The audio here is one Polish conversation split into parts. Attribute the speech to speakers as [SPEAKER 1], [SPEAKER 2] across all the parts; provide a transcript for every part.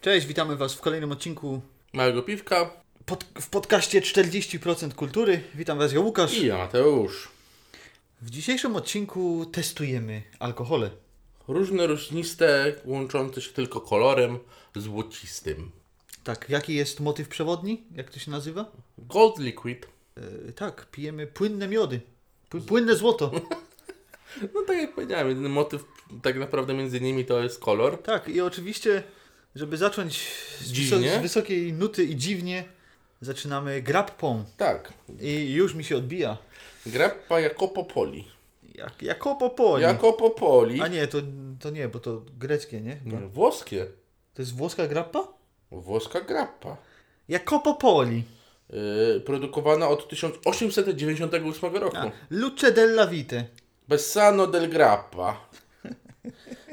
[SPEAKER 1] Cześć, witamy Was w kolejnym odcinku
[SPEAKER 2] Małego Piwka
[SPEAKER 1] pod, w podcaście 40% Kultury. Witam Was, ja Łukasz.
[SPEAKER 2] i ja Mateusz.
[SPEAKER 1] W dzisiejszym odcinku testujemy alkohole.
[SPEAKER 2] Różne rośniste, łączące się tylko kolorem złocistym.
[SPEAKER 1] Tak, jaki jest motyw przewodni? Jak to się nazywa?
[SPEAKER 2] Gold Liquid.
[SPEAKER 1] E, tak, pijemy płynne miody. Pły- Płynne złoto.
[SPEAKER 2] No tak jak powiedziałem, jedyny motyw tak naprawdę między nimi to jest kolor.
[SPEAKER 1] Tak, i oczywiście, żeby zacząć z,
[SPEAKER 2] Dziwnie.
[SPEAKER 1] wyso- z wysokiej nuty i dziwnie, zaczynamy grappą.
[SPEAKER 2] Tak.
[SPEAKER 1] I już mi się odbija.
[SPEAKER 2] Grappa Jacopo Poli.
[SPEAKER 1] Jak, jako popoli.
[SPEAKER 2] Jacopo Poli.
[SPEAKER 1] A nie, to, to nie, bo to greckie, nie?
[SPEAKER 2] Nie, Włoskie.
[SPEAKER 1] To jest włoska grappa?
[SPEAKER 2] Włoska grappa.
[SPEAKER 1] Jako popoli.
[SPEAKER 2] Yy, produkowana od 1898 roku.
[SPEAKER 1] Tak. Luce della Vite.
[SPEAKER 2] Bessano del Grappa.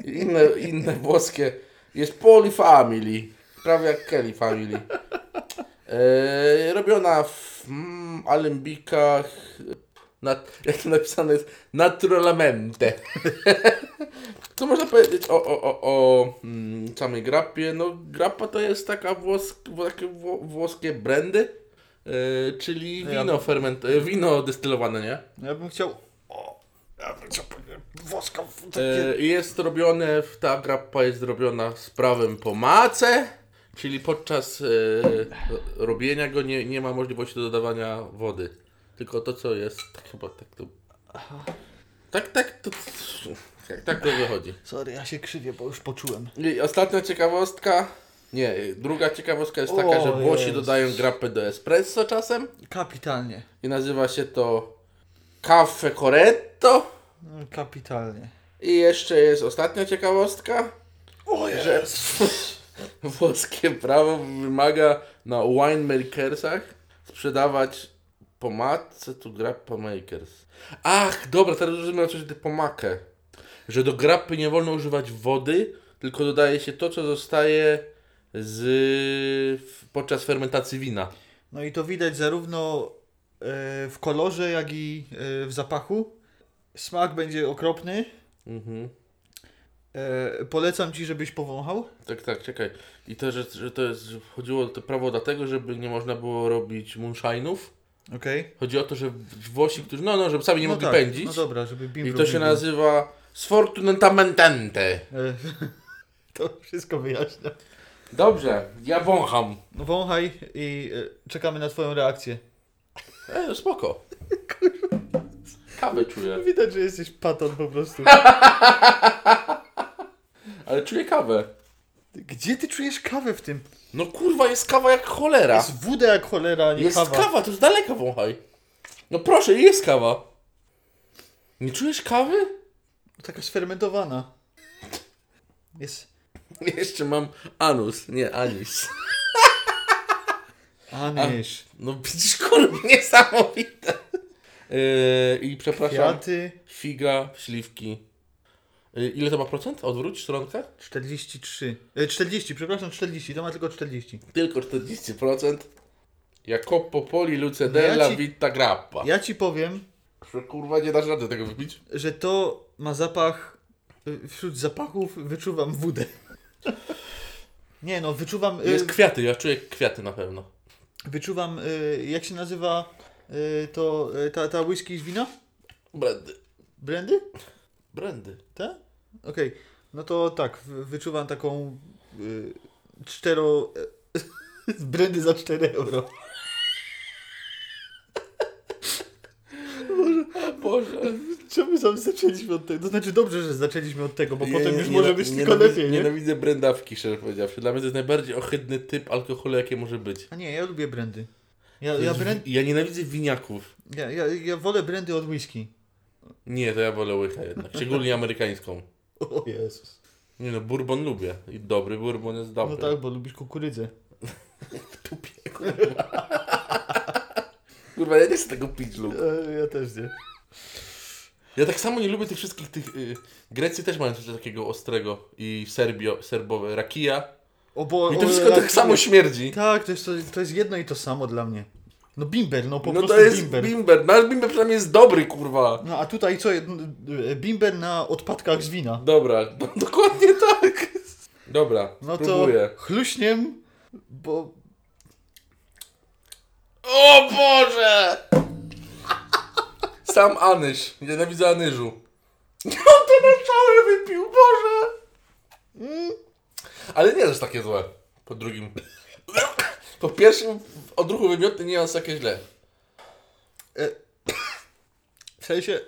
[SPEAKER 2] Inne, inne włoskie. Jest Poli Family. Prawie jak Kelly Family. Eee, robiona w mm, alembikach. Nat, jak to napisane jest? Naturalmente. Co można powiedzieć o, o, o, o mm, samej grappie? No, grappa to jest taka włos, wło- takie wło, włoskie brandy, eee, czyli
[SPEAKER 1] Ja-
[SPEAKER 2] wino, ferment, e, wino destylowane, nie?
[SPEAKER 1] Ja bym chciał... O, ja bym chciał powiedzieć, włoska... w- Takie...
[SPEAKER 2] E, jest robione, w- ta grappa jest robiona z prawem po mace, czyli podczas e, robienia go nie, nie ma możliwości dodawania wody. Tylko to, co jest, tak chyba tak to... Tak, tak, to... Tak, tak to wychodzi.
[SPEAKER 1] Sorry, ja się krzywię, bo już poczułem.
[SPEAKER 2] I ostatnia ciekawostka. Nie, druga ciekawostka jest taka,
[SPEAKER 1] O,
[SPEAKER 2] że Włosi
[SPEAKER 1] Jezus.
[SPEAKER 2] dodają grapę do espresso czasem
[SPEAKER 1] Kapitalnie.
[SPEAKER 2] i nazywa się to caffè corretto.
[SPEAKER 1] Mm, Kapitalnie.
[SPEAKER 2] I jeszcze jest ostatnia ciekawostka.
[SPEAKER 1] O
[SPEAKER 2] że włoskie prawo wymaga na winemakersach sprzedawać pomadce to grappa makers. Ach, dobra, teraz rozumiem o co chodzi o pomakę. Że do grappy nie wolno używać wody, tylko dodaje się to, co zostaje z w- podczas fermentacji wina.
[SPEAKER 1] No i to widać zarówno e, w kolorze, jak i e, w zapachu. Smak będzie okropny.
[SPEAKER 2] Mhm.
[SPEAKER 1] E, Polecam Ci, żebyś powąchał.
[SPEAKER 2] Tak, tak, czekaj. I to, że, że to jest, że chodziło o to prawo dlatego, żeby nie można było robić moonshine'ów.
[SPEAKER 1] Okej?
[SPEAKER 2] Chodzi o to, że Włosi, którzy, no, no, żeby sami nie
[SPEAKER 1] no
[SPEAKER 2] mogli
[SPEAKER 1] tak.
[SPEAKER 2] pędzić.
[SPEAKER 1] No dobra, żeby bim
[SPEAKER 2] I
[SPEAKER 1] był
[SPEAKER 2] to się
[SPEAKER 1] bim.
[SPEAKER 2] nazywa Sfortunatamentente.
[SPEAKER 1] E, To wszystko wyjaśnia.
[SPEAKER 2] Dobrze, ja wącham.
[SPEAKER 1] No wąchaj i e, czekamy na Twoją reakcję.
[SPEAKER 2] E, spoko. Kawę czuję.
[SPEAKER 1] Widać, że jesteś paton po prostu.
[SPEAKER 2] Ale czuję kawę.
[SPEAKER 1] Gdzie ty czujesz kawę w tym?
[SPEAKER 2] No kurwa, jest kawa jak cholera. Jest,
[SPEAKER 1] Jest wódę jak cholera, a nie kawa.
[SPEAKER 2] kawa. to z daleka wąchaj. No proszę, jest kawa. Nie czujesz kawy?
[SPEAKER 1] Taka sfermentowana. Jest
[SPEAKER 2] Jeszcze mam anus, nie anis.
[SPEAKER 1] anysz,
[SPEAKER 2] No przecież kurwa, niesamowite. Yy, I przepraszam.
[SPEAKER 1] kwiaty,
[SPEAKER 2] Figa, śliwki. Yy, ile to ma procent? Odwróć stronkę.
[SPEAKER 1] 43. E, 40, przepraszam, 40, to ma tylko 40.
[SPEAKER 2] Tylko 40%. Jacopo Poli Lucedella
[SPEAKER 1] No ja ci-
[SPEAKER 2] Vita Grappa.
[SPEAKER 1] Ja ci powiem,
[SPEAKER 2] Że Kurwa, nie dasz rady tego wypić.
[SPEAKER 1] że to ma zapach... y, Wśród zapachów wyczuwam wódę. Nie no, wyczuwam... y,
[SPEAKER 2] Jest kwiaty, ja czuję kwiaty na pewno.
[SPEAKER 1] Wyczuwam, y, jak się nazywa y, to, y, ta, ta whisky z wina?
[SPEAKER 2] Brandy.
[SPEAKER 1] Brandy?
[SPEAKER 2] Brandy.
[SPEAKER 1] Tak? Okej. No to tak, w- wyczuwam taką y, cztero... e, z brandy za 4 euro.
[SPEAKER 2] Boże.
[SPEAKER 1] Czemu sam zaczęliśmy od tego? To znaczy dobrze, że zaczęliśmy od tego, bo potem już
[SPEAKER 2] nie-
[SPEAKER 1] może być tylko
[SPEAKER 2] nienawidzę-
[SPEAKER 1] lepiej, nie?
[SPEAKER 2] Nienawidzę brandawki, szczerze powiedziawszy. Dla mnie to jest najbardziej ohydny typ alkoholu, jaki może być.
[SPEAKER 1] A nie, ja lubię brandy. Ja,
[SPEAKER 2] To
[SPEAKER 1] ja,
[SPEAKER 2] jest
[SPEAKER 1] brand,
[SPEAKER 2] wi- ja nienawidzę winiaków.
[SPEAKER 1] ja, ja, ja wolę brandy od whisky.
[SPEAKER 2] Nie, to ja wolę łychę jednak. Szczególnie amerykańską.
[SPEAKER 1] O Jezus.
[SPEAKER 2] Nie no, bourbon lubię. I dobry bourbon jest dobry.
[SPEAKER 1] No tak, bo lubisz kukurydzę.
[SPEAKER 2] Kurwa, ja nie chcę tego pić, Luke.
[SPEAKER 1] ja też nie.
[SPEAKER 2] Ja tak samo nie lubię tych wszystkich tych. Y, Grecji też mają coś takiego ostrego i Serbio, Serbowe, rakija.
[SPEAKER 1] O, bo,
[SPEAKER 2] I
[SPEAKER 1] o,
[SPEAKER 2] to wszystko
[SPEAKER 1] rak-
[SPEAKER 2] tak samo śmierdzi.
[SPEAKER 1] Tak, to jest, to, to jest jedno i to samo dla mnie. No bimber, no po
[SPEAKER 2] No
[SPEAKER 1] prostu
[SPEAKER 2] to jest
[SPEAKER 1] bimber.
[SPEAKER 2] bimber. Nasz bimber przynajmniej jest dobry, kurwa.
[SPEAKER 1] no a tutaj co, jed- bimber na odpadkach z wina.
[SPEAKER 2] Dobra, no, dokładnie tak. Dobra,
[SPEAKER 1] No
[SPEAKER 2] spróbuję.
[SPEAKER 1] to chluśniem, bo...
[SPEAKER 2] O Boże! Sam Anyś. Nienawidzę Anyżu. On to na całe wypił, Boże! Mm. Ale nie jest takie złe. Po drugim. Po pierwszym odruchu wymioty nie jest takie źle.
[SPEAKER 1] E, w sensie...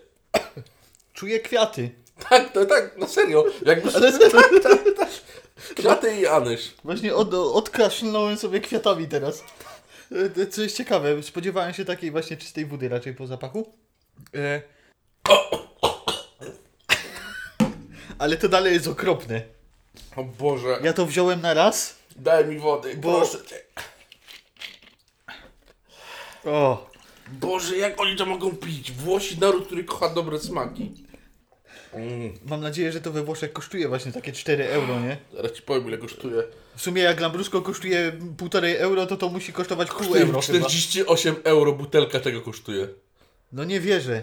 [SPEAKER 1] Czuję kwiaty.
[SPEAKER 2] Tak, to tak, no serio. Jakby
[SPEAKER 1] Ale
[SPEAKER 2] kwiaty i Anyś.
[SPEAKER 1] właśnie od, odkraszlnąłem sobie kwiatami teraz. E, Co jest ciekawe, spodziewałem się takiej właśnie czystej wody raczej po zapachu. E, ale to dalej jest okropne.
[SPEAKER 2] O Boże.
[SPEAKER 1] Ja to wziąłem na raz.
[SPEAKER 2] Daj mi wody, proszę cię.
[SPEAKER 1] O,
[SPEAKER 2] Boże, jak oni to mogą pić? Włosi naród, który kocha dobre smaki. Mm.
[SPEAKER 1] mam nadzieję, że to we Włoszech kosztuje właśnie takie 4 euro, nie?
[SPEAKER 2] Zaraz ci powiem ile kosztuje.
[SPEAKER 1] W sumie jak Lambrusco kosztuje 1,5 euro, to to musi kosztować pół
[SPEAKER 2] Kosztuje
[SPEAKER 1] euro
[SPEAKER 2] 48 euro butelka tego kosztuje.
[SPEAKER 1] chyba. No nie wierzę.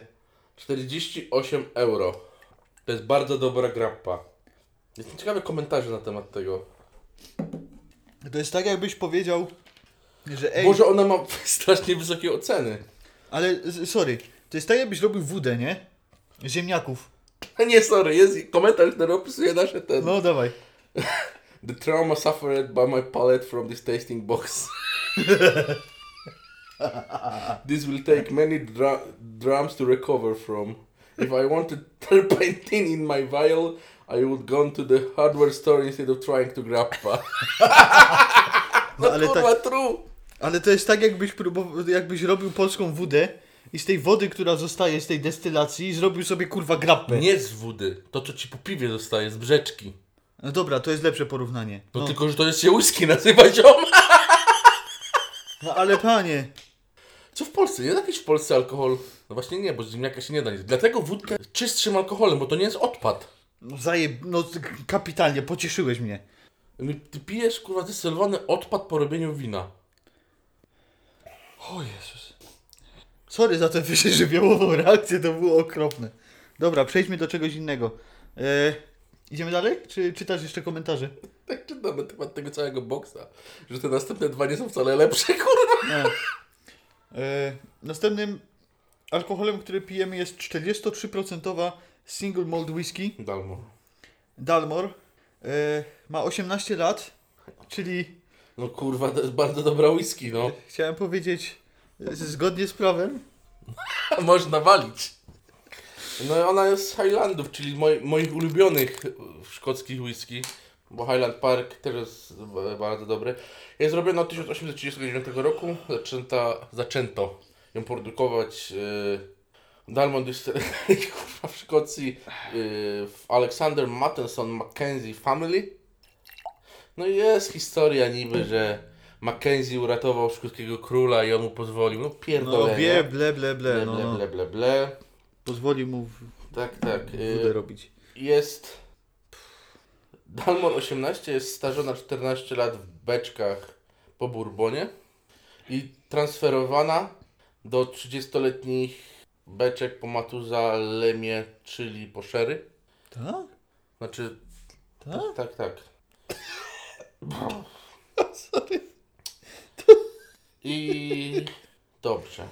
[SPEAKER 2] 48 euro. To jest bardzo dobra grappa. Jestem ciekawy komentarzy na temat tego.
[SPEAKER 1] To jest tak jakbyś powiedział, że ej,
[SPEAKER 2] Boże, ona ma strasznie wysokie oceny.
[SPEAKER 1] ale s- sorry, to jest tak jakbyś robił wódę, nie? Ziemniaków.
[SPEAKER 2] A nie, sorry, jest komentarz, który opisuje nasze ten.
[SPEAKER 1] No dawaj.
[SPEAKER 2] The trauma suffered by my palate from this tasting box. this will take many dra- drums to recover from. If I wanted turpentine in my vial, I would gone to the hardware store instead of trying to grappa.
[SPEAKER 1] No, ale,
[SPEAKER 2] Kurwa,
[SPEAKER 1] tak,
[SPEAKER 2] true.
[SPEAKER 1] ale to jest tak jakbyś, próbował, jakbyś robił polską wódę i z tej wody, która zostaje z tej destylacji, zrobił sobie kurwa grappę.
[SPEAKER 2] Nie z wody, to co ci po piwie zostaje, z brzeczki.
[SPEAKER 1] No dobra, to jest lepsze porównanie.
[SPEAKER 2] No,
[SPEAKER 1] No,
[SPEAKER 2] tylko, że to jest się whisky nazywa ziom.
[SPEAKER 1] no ale panie,
[SPEAKER 2] Co w Polsce? Jest jakiś w Polsce alkohol? No właśnie nie, bo z ziemniaka się nie da. nic. Dlatego wódkę czystszym alkoholem, bo to nie jest odpad.
[SPEAKER 1] no zaje, no kapitalnie, pocieszyłeś mnie.
[SPEAKER 2] No, Ty pijesz, kurwa, dystylowany odpad po robieniu wina.
[SPEAKER 1] O Jezus. Sorry za tę wyżywiołową reakcję, to było okropne. Dobra, przejdźmy do czegoś innego. E, idziemy dalej? Czy czytasz jeszcze komentarze?
[SPEAKER 2] Tak czytam na temat tego całego boksa, że te następne dwa nie są wcale lepsze, kurwa.
[SPEAKER 1] E, e, następnym alkoholem, który pijemy jest 43% single malt whisky.
[SPEAKER 2] Dalmo.
[SPEAKER 1] Dalmor. E, ma 18 lat, czyli
[SPEAKER 2] No kurwa, to jest bardzo dobra whisky, no.
[SPEAKER 1] chciałem powiedzieć e, zgodnie z prawem.
[SPEAKER 2] Można walić. No i ona jest z Highlandów, czyli moj, moich ulubionych e, szkockich whisky, bo Highland Park też jest b- bardzo dobry. Jest zrobiona od 1839 roku, zaczęta, zaczęto ją produkować e, Dalmond Distillery kurwa, w Szkocji e, w Alexander Mattenson Mackenzie Family. No i jest historia niby, że Mackenzie uratował szkockiego króla i on mu pozwolił. No
[SPEAKER 1] No
[SPEAKER 2] pierdolę.
[SPEAKER 1] bie, ble, ble, ble.
[SPEAKER 2] Ble,
[SPEAKER 1] No,
[SPEAKER 2] ble,
[SPEAKER 1] no.
[SPEAKER 2] ble, ble, ble.
[SPEAKER 1] Pozwoli mu w-
[SPEAKER 2] Tak, tak. y,
[SPEAKER 1] wódę robić.
[SPEAKER 2] Jest. Dalmor 18 jest starzona 14 lat w beczkach po Bourbonie i transferowana do 30-letnich beczek po Matuzalemie, czyli po Sherry.
[SPEAKER 1] Tak?
[SPEAKER 2] Znaczy,
[SPEAKER 1] Tak?
[SPEAKER 2] tak, tak. I dobrze.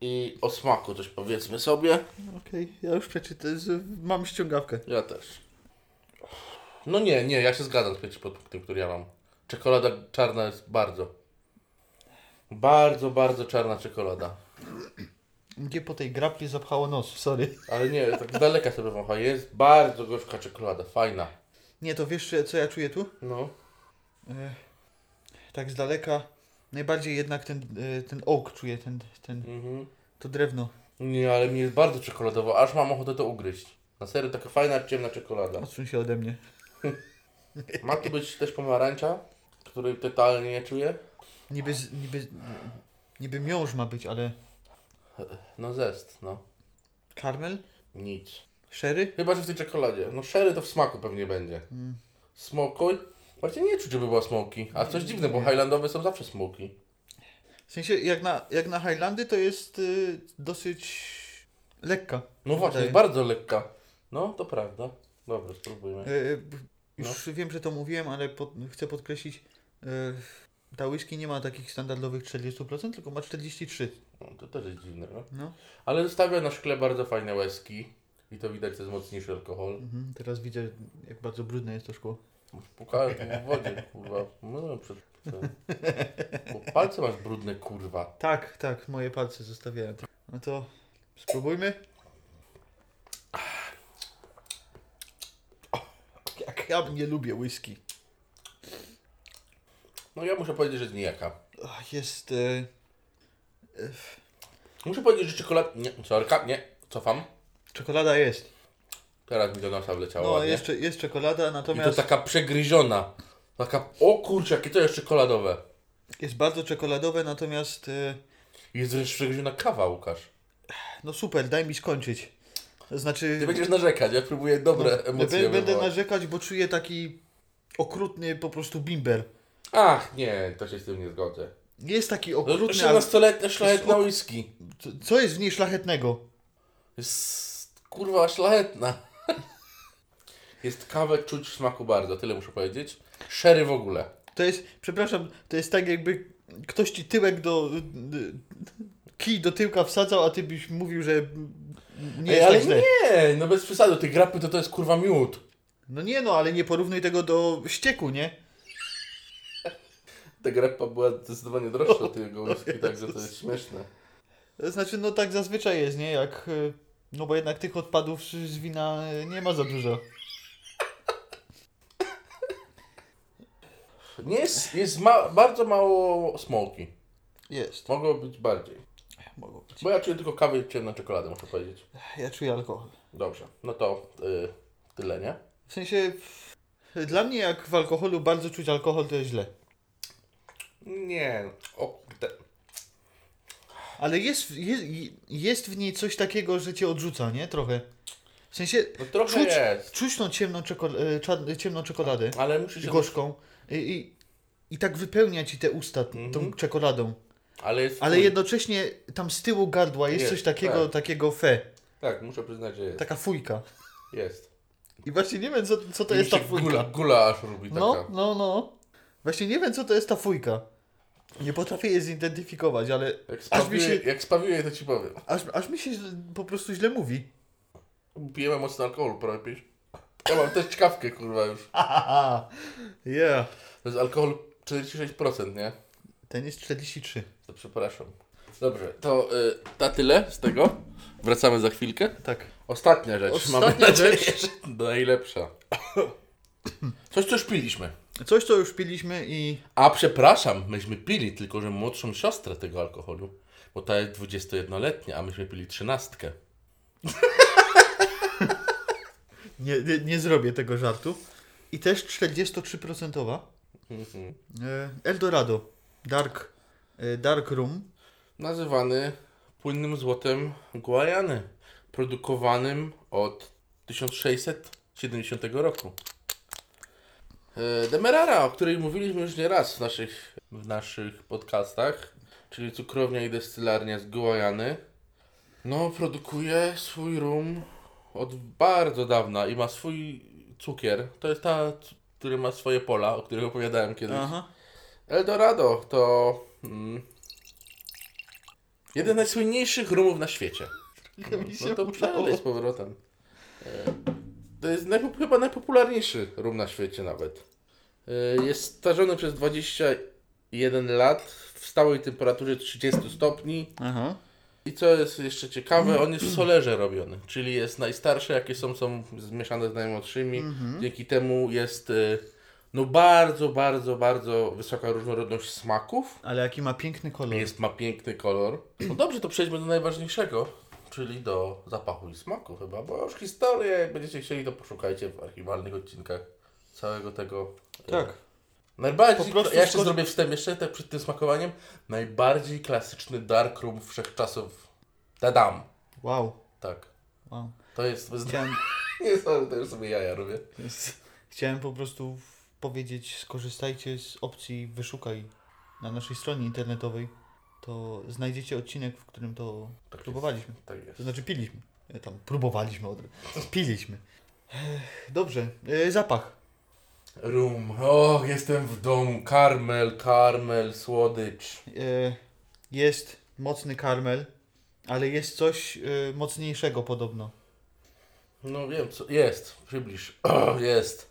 [SPEAKER 2] I o smaku coś powiedzmy sobie.
[SPEAKER 1] Okej, ja już przeczytałem, mam ściągawkę.
[SPEAKER 2] Ja też. No nie, nie, ja się zgadzam z pierwszym podpunktem, który ja mam. Czekolada czarna jest bardzo. Bardzo, bardzo czarna czekolada.
[SPEAKER 1] Gdzie po tej grapie zapchało nos, sorry.
[SPEAKER 2] Ale nie, tak z daleka sobie wącha. Jest bardzo gorzka czekolada, fajna.
[SPEAKER 1] Nie, to wiesz co ja czuję tu? E,
[SPEAKER 2] No.
[SPEAKER 1] Tak z daleka. Najbardziej jednak ten, e, ten oak czuję, ten, ten,
[SPEAKER 2] Mhm.
[SPEAKER 1] to drewno.
[SPEAKER 2] Nie, ale mi jest bardzo czekoladowo, aż mam ochotę to ugryźć. Na serio, taka fajna, ciemna czekolada.
[SPEAKER 1] Odsuń się ode mnie.
[SPEAKER 2] Ma tu być też pomarańcza, której totalnie nie czuję.
[SPEAKER 1] Niby, z- niby, niby miąż ma być, ale
[SPEAKER 2] No zest, no.
[SPEAKER 1] karmel?
[SPEAKER 2] Nic.
[SPEAKER 1] Sherry?
[SPEAKER 2] Chyba, że w tej czekoladzie. No sherry to w smaku pewnie będzie.
[SPEAKER 1] Mm.
[SPEAKER 2] Smokuj? Właśnie nie czuć, żeby była smoki. A coś dziwne, bo highlandowe są zawsze smoki.
[SPEAKER 1] W sensie jak na, jak na Highlandy to jest y, dosyć lekka.
[SPEAKER 2] No właśnie,
[SPEAKER 1] Wydaje.
[SPEAKER 2] jest bardzo lekka. No, to prawda. Dobra, spróbujmy.
[SPEAKER 1] E, Już wiem, że to mówiłem, ale pod, chcę podkreślić, yy, ta whisky nie ma takich standardowych 40%, tylko ma 43%.
[SPEAKER 2] No, to też jest dziwne, no.
[SPEAKER 1] No.
[SPEAKER 2] Ale zostawia na szkle bardzo fajne łezki. I to widać, to jest mocniejszy alkohol.
[SPEAKER 1] Mhm, teraz widzę, jak bardzo brudne jest to szkło.
[SPEAKER 2] Pukałem tu w wodzie, kurwa. No, przed... Bo palce masz brudne, kurwa.
[SPEAKER 1] Tak, tak, moje palce zostawiają. No to spróbujmy. Jak ja nie lubię whisky.
[SPEAKER 2] No ja muszę powiedzieć, że jest nijaka.
[SPEAKER 1] Ach, Jest. E,
[SPEAKER 2] Muszę powiedzieć, że czekolad... Nie, sorka, nie, cofam.
[SPEAKER 1] czekolada jest.
[SPEAKER 2] Teraz mi do nosa wleciała
[SPEAKER 1] No,
[SPEAKER 2] ładnie.
[SPEAKER 1] jeszcze, jest czekolada,
[SPEAKER 2] I to
[SPEAKER 1] natomiast
[SPEAKER 2] taka przegryziona. Taka, o kurczę, jakie to jest czekoladowe.
[SPEAKER 1] jest bardzo czekoladowe, natomiast. E,
[SPEAKER 2] Jest wręcz przegryziona kawa, Łukasz.
[SPEAKER 1] no super, daj mi skończyć. To znaczy.
[SPEAKER 2] Ty będziesz narzekać, No, ja próbuję dobre emocje
[SPEAKER 1] Będę, będę
[SPEAKER 2] wywołać.
[SPEAKER 1] narzekać, bo czuję taki okrutny po prostu bimber.
[SPEAKER 2] Ach, nie, to się z tym nie zgodzę.
[SPEAKER 1] Jest taki
[SPEAKER 2] No,
[SPEAKER 1] okrutny. ale
[SPEAKER 2] 18-letnia szlachetna whisky.
[SPEAKER 1] co- Co jest w niej szlachetnego?
[SPEAKER 2] Jest, kurwa, szlachetna. Jest kawę czuć w smaku bardzo, tyle muszę powiedzieć. Sherry w ogóle.
[SPEAKER 1] To jest, przepraszam, to jest tak jakby ktoś ci tyłek do. y, kij do tyłka wsadzał, a ty byś mówił, że nie
[SPEAKER 2] Ej,
[SPEAKER 1] jest
[SPEAKER 2] ale
[SPEAKER 1] tak źle.
[SPEAKER 2] nie, no bez przesady, te grapy to to jest kurwa miód.
[SPEAKER 1] No nie no, ale nie porównuj tego do ścieku, nie?
[SPEAKER 2] Ta grapa była zdecydowanie droższa od tego whisky, także to jest śmieszne.
[SPEAKER 1] To Znaczy, no tak zazwyczaj jest, nie? Jak. y, No bo jednak tych odpadów z z wina y, nie ma za dużo.
[SPEAKER 2] Nie jest, jest ma, bardzo mało smoki.
[SPEAKER 1] Jest.
[SPEAKER 2] Mogło być bardziej.
[SPEAKER 1] Mogło być.
[SPEAKER 2] Bo ja czuję tylko kawę i ciemną czekoladę, muszę powiedzieć.
[SPEAKER 1] Ja czuję alkohol.
[SPEAKER 2] Dobrze, no to y, tyle, nie?
[SPEAKER 1] W sensie. Dla mnie jak w alkoholu bardzo czuć alkohol, to jest źle.
[SPEAKER 2] Nie, o kurde.
[SPEAKER 1] Ale jest, jest, jest w niej coś takiego, że cię odrzuca, nie? Trochę. W sensie
[SPEAKER 2] No trochę
[SPEAKER 1] czuć,
[SPEAKER 2] jest,
[SPEAKER 1] czuć tą ciemną, czekol- e, czad- ciemną czekoladę,
[SPEAKER 2] ale musi się...
[SPEAKER 1] gorzką i, i, i tak wypełnia ci te usta t-
[SPEAKER 2] Mhm.
[SPEAKER 1] tą czekoladą.
[SPEAKER 2] Ale jest
[SPEAKER 1] Ale
[SPEAKER 2] chuj.
[SPEAKER 1] jednocześnie tam z tyłu gardła jest,
[SPEAKER 2] Jest,
[SPEAKER 1] coś takiego,
[SPEAKER 2] tak.
[SPEAKER 1] takiego fe.
[SPEAKER 2] Tak, muszę przyznać, że jest.
[SPEAKER 1] Taka fujka.
[SPEAKER 2] Jest.
[SPEAKER 1] I właśnie nie wiem, co, co to
[SPEAKER 2] Mi
[SPEAKER 1] jest
[SPEAKER 2] się
[SPEAKER 1] ta
[SPEAKER 2] Gula,
[SPEAKER 1] fujka.
[SPEAKER 2] gula aż robi taka.
[SPEAKER 1] No, no, no. Właśnie nie wiem, co to jest ta fujka. Nie potrafię jej zidentyfikować, ale
[SPEAKER 2] Jak
[SPEAKER 1] aż mi
[SPEAKER 2] spawiuję,
[SPEAKER 1] się,
[SPEAKER 2] jak spawiuję, to ci powiem.
[SPEAKER 1] aż, aż mi się źle- po prostu źle mówi.
[SPEAKER 2] Pijemy mocno alkoholu, prawie pić. Ja mam też czkawkę, kurwa, już.
[SPEAKER 1] Aha, yeah.
[SPEAKER 2] To jest alkohol 46%, nie?
[SPEAKER 1] Ten jest 43.
[SPEAKER 2] To przepraszam. Dobrze, to y, ta tyle z tego. Wracamy za chwilkę.
[SPEAKER 1] Tak.
[SPEAKER 2] Ostatnia rzecz.
[SPEAKER 1] Ostatnia
[SPEAKER 2] Mamy nadzieję,
[SPEAKER 1] rzecz.
[SPEAKER 2] że najlepsza. Coś, co już piliśmy.
[SPEAKER 1] Coś, co już piliśmy i...
[SPEAKER 2] A przepraszam, myśmy pili tylko, że młodszą siostrę tego alkoholu. Bo ta jest 21-letnia, a myśmy pili trzynastkę.
[SPEAKER 1] Nie, nie, nie zrobię tego żartu. I też 43%.
[SPEAKER 2] Mhm.
[SPEAKER 1] E, Eldorado. Dark, e, dark Room.
[SPEAKER 2] Nazywany płynnym złotem Guajany. Produkowanym od 1670 roku. E, Demerara, o której mówiliśmy już nie raz w naszych, w naszych podcastach, czyli cukrownia i destylarnia z Guajany, no produkuje swój rum od bardzo dawna i ma swój cukier. To jest ta, c- który ma swoje pola, o których opowiadałem kiedyś.
[SPEAKER 1] Aha.
[SPEAKER 2] Eldorado to mm, jeden z najsłynniejszych rumów na świecie.
[SPEAKER 1] mi
[SPEAKER 2] No
[SPEAKER 1] się
[SPEAKER 2] to
[SPEAKER 1] udało.
[SPEAKER 2] przelej z powrotem. E, To jest najpo, chyba najpopularniejszy rum na świecie nawet. E, Jest starzony przez 21 lat w stałej temperaturze 30 stopni.
[SPEAKER 1] Aha.
[SPEAKER 2] I co jest jeszcze ciekawe, on jest w solerze robiony, czyli jest najstarsze, jakie są, są zmieszane z najmłodszymi.
[SPEAKER 1] Mhm.
[SPEAKER 2] Dzięki temu jest e, no bardzo, bardzo, bardzo wysoka różnorodność smaków.
[SPEAKER 1] Ale jaki ma piękny kolor.
[SPEAKER 2] Jest, ma piękny kolor. No dobrze, to przejdźmy do najważniejszego, czyli do zapachu i smaku chyba, bo już historię, jak będziecie chcieli, to poszukajcie w archiwalnych odcinkach całego tego. e,
[SPEAKER 1] Tak.
[SPEAKER 2] Najbardziej,
[SPEAKER 1] Po prostu
[SPEAKER 2] ja jeszcze
[SPEAKER 1] skąd-
[SPEAKER 2] zrobię wstęp jeszcze tak przed tym smakowaniem, najbardziej klasyczny dark room wszechczasów. Dadam.
[SPEAKER 1] Wow.
[SPEAKER 2] Tak.
[SPEAKER 1] wow.
[SPEAKER 2] To jest wyznanie.
[SPEAKER 1] Chciałem,
[SPEAKER 2] Nie, sorry, to już sobie jaja robię.
[SPEAKER 1] chciałem po prostu powiedzieć, skorzystajcie z opcji wyszukaj na naszej stronie internetowej. To znajdziecie odcinek, w którym to
[SPEAKER 2] jest.
[SPEAKER 1] próbowaliśmy.
[SPEAKER 2] Tak jest.
[SPEAKER 1] To znaczy piliśmy. E, Tam próbowaliśmy od Piliśmy. Ech, Dobrze. E, Zapach.
[SPEAKER 2] Room. Och, jestem w domu. Karmel, karmel, słodycz.
[SPEAKER 1] E, jest mocny karmel, ale jest coś e, mocniejszego podobno.
[SPEAKER 2] No wiem co. Jest, przybliż. O, jest.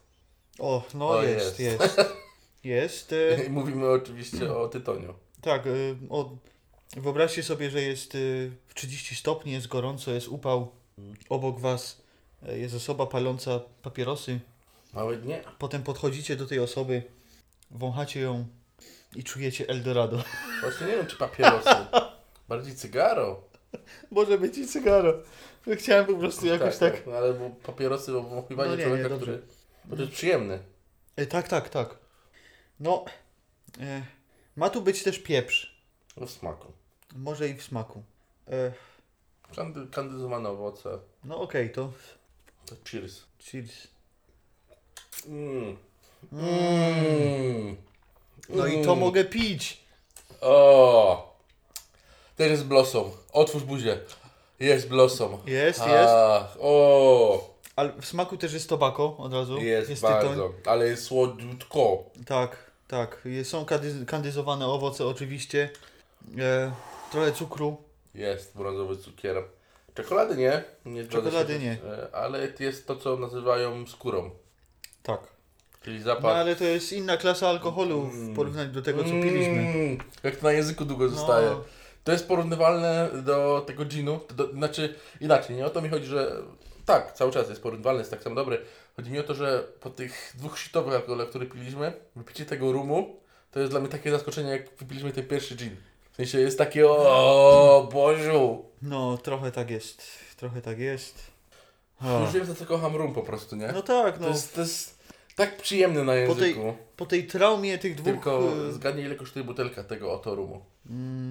[SPEAKER 1] O, no
[SPEAKER 2] O,
[SPEAKER 1] jest,
[SPEAKER 2] jest.
[SPEAKER 1] jest. Jest. e,
[SPEAKER 2] I mówimy oczywiście o tytoniu.
[SPEAKER 1] Tak, y, o, wyobraźcie sobie, że jest y, w 30 stopni, jest gorąco, jest upał. Obok was y, jest osoba paląca papierosy.
[SPEAKER 2] Małe dnie.
[SPEAKER 1] Potem podchodzicie do tej osoby, wąchacie ją i czujecie Eldorado.
[SPEAKER 2] Właśnie nie wiem czy papierosy. Bardziej cygaro.
[SPEAKER 1] Może być i cygaro. Chciałem po prostu jakoś tak.
[SPEAKER 2] No, ale bo papierosy obwąchiwanie
[SPEAKER 1] No nie, nie,
[SPEAKER 2] człowieka,
[SPEAKER 1] dobrze.
[SPEAKER 2] który... Bo to jest przyjemny.
[SPEAKER 1] Y, Tak, tak, tak. No, y, ma tu być też pieprz.
[SPEAKER 2] No, w smaku.
[SPEAKER 1] Może i w smaku. Y,
[SPEAKER 2] Kandy, kandyzowane owoce.
[SPEAKER 1] No okej, to
[SPEAKER 2] To Cheers.
[SPEAKER 1] cheers.
[SPEAKER 2] Mm. Mm.
[SPEAKER 1] No i to mogę pić.
[SPEAKER 2] O! Też jest blossom. Otwórz buzię. Jest blossom.
[SPEAKER 1] Jest, jest.
[SPEAKER 2] Ach, o!
[SPEAKER 1] Ale w smaku też jest tobako od razu.
[SPEAKER 2] Jest,
[SPEAKER 1] tytoń.
[SPEAKER 2] bardzo. Ale jest słodziutko.
[SPEAKER 1] Tak, tak. Jest- Są kandy- kandyzowane owoce oczywiście. E, trochę cukru.
[SPEAKER 2] Jest brązowy cukier. Czekolady nie. nie zgadza
[SPEAKER 1] Czekolady
[SPEAKER 2] się,
[SPEAKER 1] nie.
[SPEAKER 2] e, Ale jest to, co nazywają skórą.
[SPEAKER 1] Tak.
[SPEAKER 2] Czyli
[SPEAKER 1] No
[SPEAKER 2] zapach.
[SPEAKER 1] ale to jest inna klasa alkoholu w porównaniu do tego, co piliśmy. No.
[SPEAKER 2] Mm, jak to na języku długo zostaje. To jest porównywalne do tego ginu. To Do, znaczy, inaczej, nie o to mi chodzi, że tak, cały czas jest porównywalny, jest tak samo dobry. Chodzi mi o to, że po tych dwóch shitowych alkoholach, które piliśmy, wypicie tego rumu, to jest dla mnie takie zaskoczenie, jak wypiliśmy ten pierwszy gin. W sensie jest takie, o Bożu!
[SPEAKER 1] No, trochę tak jest. Trochę tak jest. Ha.
[SPEAKER 2] Już wiem, za co kocham rum po prostu, nie?
[SPEAKER 1] No tak,
[SPEAKER 2] To
[SPEAKER 1] no.
[SPEAKER 2] jest, to jest tak przyjemne na
[SPEAKER 1] Po tej
[SPEAKER 2] języku.
[SPEAKER 1] Po tej traumie tych dwóch...
[SPEAKER 2] Tylko
[SPEAKER 1] e,
[SPEAKER 2] zgadnij, ile kosztuje butelka tego oto rumu.
[SPEAKER 1] Mm.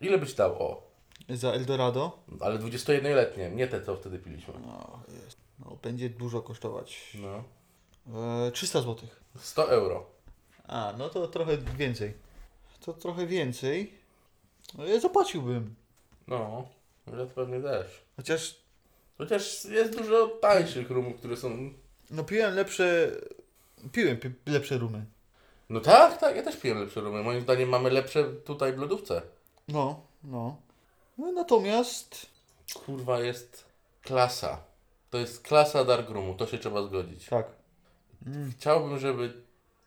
[SPEAKER 2] Ile byś dał? O,
[SPEAKER 1] y, Za Eldorado.
[SPEAKER 2] ale 21-letnie, nie te, co wtedy piliśmy.
[SPEAKER 1] No, jest. no będzie dużo kosztować.
[SPEAKER 2] No.
[SPEAKER 1] E, 300 zł.
[SPEAKER 2] 100 euro.
[SPEAKER 1] A, no to trochę więcej. To trochę więcej. No, ja zapłaciłbym.
[SPEAKER 2] No, ja to pewnie też.
[SPEAKER 1] Chociaż
[SPEAKER 2] Chociaż jest dużo tańszych rumów, które są...
[SPEAKER 1] No piłem lepsze... Piłem pi lepsze rumy.
[SPEAKER 2] No tak, tak, ja też piję lepsze rumy. Moim zdaniem mamy lepsze tutaj w lodówce.
[SPEAKER 1] No, no. No natomiast...
[SPEAKER 2] Kurwa, jest klasa. To jest klasa dark roomu, to się trzeba zgodzić.
[SPEAKER 1] Tak.
[SPEAKER 2] Chciałbym, żeby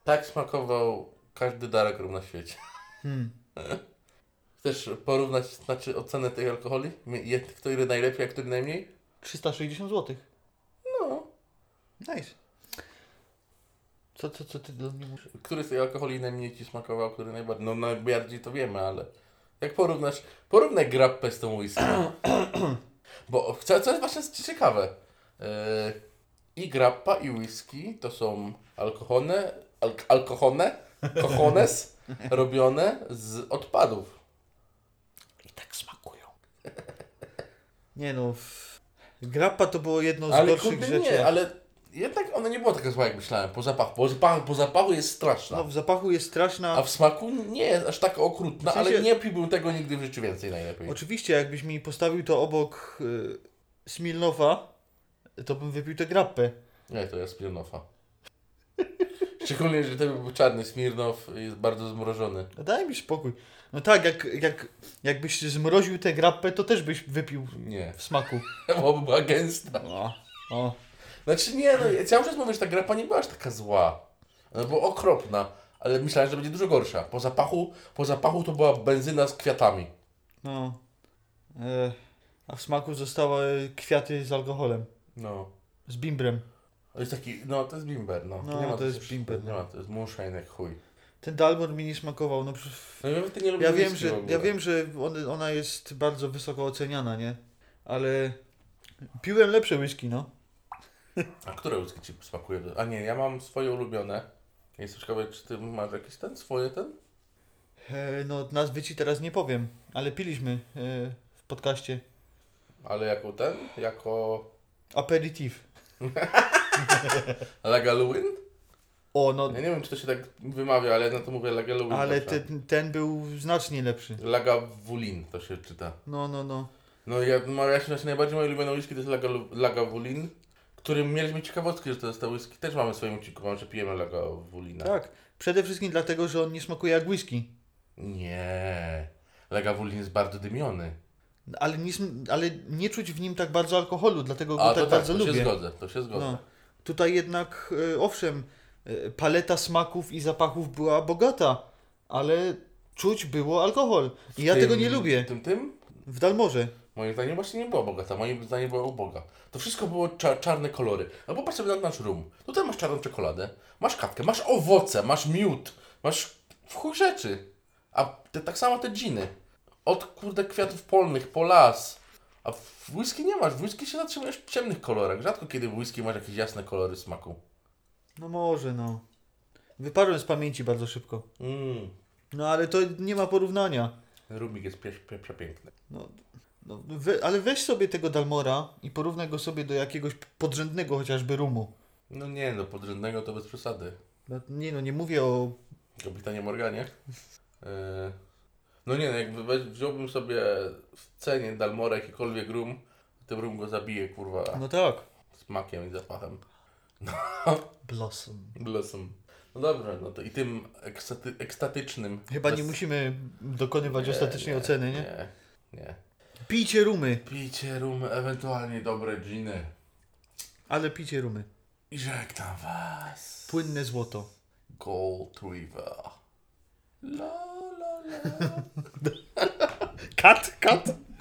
[SPEAKER 2] tak smakował każdy dark room na świecie.
[SPEAKER 1] Hmm.
[SPEAKER 2] Chcesz porównać, znaczy ocenę tych alkoholi? Mi- je- Który najlepiej, a który najmniej?
[SPEAKER 1] 360 zł.
[SPEAKER 2] No.
[SPEAKER 1] Nice. Co, co, co ty do mnie mówisz?
[SPEAKER 2] Który z tych alkoholi najmniej Ci smakował, który najbardziej? No najbardziej to wiemy, ale jak porównasz, porównaj grappę z tą whisky. Bo co, co jest właśnie ciekawe, yy, i grappa i whisky to są alkohone, al, alkohone, kochones robione z odpadów.
[SPEAKER 1] I tak smakują. Nie no... w- Grappa to było jedno z
[SPEAKER 2] Ale
[SPEAKER 1] gorszych
[SPEAKER 2] kurde
[SPEAKER 1] rzeczy.
[SPEAKER 2] nie, ale jednak ona nie była taka zła jak myślałem, po zapachu, po zapachu, po zapachu jest straszna.
[SPEAKER 1] No w zapachu jest straszna...
[SPEAKER 2] A w smaku nie jest aż tak okrutna,
[SPEAKER 1] W sensie-
[SPEAKER 2] ale nie piłbym tego nigdy w życiu więcej najlepiej.
[SPEAKER 1] Oczywiście jakbyś mi postawił to obok... Y... Smilnowa, to bym wypił tę grappę.
[SPEAKER 2] Nie, to ja Smirnowa. Szczególnie, że ten był czarny Smirnow i jest bardzo zmrożony.
[SPEAKER 1] No Daj mi spokój. No tak, jak, jak, jakbyś zmroził tę grappę, to też byś wypił
[SPEAKER 2] Nie.
[SPEAKER 1] w smaku.
[SPEAKER 2] Bo była gęsta.
[SPEAKER 1] O, o.
[SPEAKER 2] Znaczy nie, no ja cały czas mówię, że ta grapa nie była aż taka zła. Ona była okropna, ale myślałem, że będzie dużo gorsza. Po zapachu, po zapachu to była benzyna z kwiatami.
[SPEAKER 1] No. E, a w smaku zostały kwiaty z alkoholem.
[SPEAKER 2] No.
[SPEAKER 1] Z bimbrem.
[SPEAKER 2] To jest taki, no to jest bimber, no.
[SPEAKER 1] No, to
[SPEAKER 2] co
[SPEAKER 1] jest
[SPEAKER 2] się-
[SPEAKER 1] bimber,
[SPEAKER 2] Nie
[SPEAKER 1] no.
[SPEAKER 2] ma, to jest moonshine jak chuj.
[SPEAKER 1] Ten dalmor mi nie smakował. No, pff.
[SPEAKER 2] No ja, ty nie lubisz
[SPEAKER 1] ja, wiem,
[SPEAKER 2] whisky w
[SPEAKER 1] że,
[SPEAKER 2] ogóle.
[SPEAKER 1] ja wiem, że on, ona jest bardzo wysoko oceniana, nie? Ale piłem lepsze whisky, no.
[SPEAKER 2] A które whisky ci smakuje? A nie, ja mam swoje ulubione. Jestem ciekawy, czy ty masz jakieś ten, swoje ten?
[SPEAKER 1] E, no, nazwy ci teraz nie powiem, ale piliśmy e, w podcaście.
[SPEAKER 2] Ale jako ten? Jako
[SPEAKER 1] Aperitif.
[SPEAKER 2] Lagaluin?
[SPEAKER 1] O, no,
[SPEAKER 2] Ja nie tak. wiem, czy to się tak wymawia, ale na to mówię Lagaluin.
[SPEAKER 1] ale
[SPEAKER 2] zawsze.
[SPEAKER 1] ten, ten był znacznie lepszy.
[SPEAKER 2] Lagavulin to się czyta.
[SPEAKER 1] No, no, no.
[SPEAKER 2] No ja, ma, ja się znaczy, najbardziej moje ulubione whisky to jest Lagalu- Lagavulin, którym mieliśmy ciekawostkę, że to jest to whisky. Też mamy w swoim odcinku, mam, że pijemy Lego Wulina.
[SPEAKER 1] Tak. Przede wszystkim dlatego, że on nie smakuje jak whisky.
[SPEAKER 2] Nie. Lega Wulin jest bardzo dymiony.
[SPEAKER 1] Ale nie, sm- ale nie czuć w nim tak bardzo alkoholu, dlatego go
[SPEAKER 2] A
[SPEAKER 1] tak,
[SPEAKER 2] to tak,
[SPEAKER 1] bardzo
[SPEAKER 2] to się
[SPEAKER 1] lubię.
[SPEAKER 2] zgodzę, to się zgodzę.
[SPEAKER 1] No. Tutaj jednak, e, owszem, e, paleta smaków i zapachów była bogata, ale czuć było alkohol. I ja
[SPEAKER 2] Tym-
[SPEAKER 1] tego nie lubię.
[SPEAKER 2] Tym, tym?
[SPEAKER 1] W Dalmorze.
[SPEAKER 2] Moim zdaniem właśnie nie była bogata, moim zdaniem była uboga. To wszystko było cza- czarne kolory. No popatrz sobie na nasz rum. No Tutaj masz czarną czekoladę, masz katkę, masz owoce, masz miód, masz w chuj rzeczy. A te, tak samo te dżiny. Od kurde kwiatów polnych, po las. A w whisky nie masz, w whisky się zatrzymujesz w ciemnych kolorach. Rzadko kiedy w whisky masz jakieś jasne kolory smaku.
[SPEAKER 1] No może, no. Wyparłem z pamięci bardzo szybko.
[SPEAKER 2] Mmm,
[SPEAKER 1] No ale to nie ma porównania.
[SPEAKER 2] rumik jest pie- pie- przepiękny.
[SPEAKER 1] No, no, we, ale weź sobie tego Dalmora i porównaj go sobie do jakiegoś podrzędnego chociażby rumu.
[SPEAKER 2] No nie, no podrzędnego to bez przesady.
[SPEAKER 1] No, Nie no, nie mówię o...
[SPEAKER 2] Kapitanie Morganie. E, No nie, no jakby we- wziąłbym sobie w cenie Dalmora jakikolwiek rum, to rum go zabije, kurwa,
[SPEAKER 1] No tak.
[SPEAKER 2] smakiem i zapachem.
[SPEAKER 1] Blossom.
[SPEAKER 2] Blossom. No dobra, no to i tym ekstaty, ekstatycznym.
[SPEAKER 1] Chyba nie
[SPEAKER 2] bez-
[SPEAKER 1] musimy dokonywać ostatecznej oceny, nie?
[SPEAKER 2] Nie, nie.
[SPEAKER 1] Pijcie rumy,
[SPEAKER 2] Pijcie rum, ewentualnie dobre dżiny.
[SPEAKER 1] ale pijcie rumy.
[SPEAKER 2] I żegnam was.
[SPEAKER 1] Płynne złoto.
[SPEAKER 2] Gold River. La la la.
[SPEAKER 1] Kat, kat.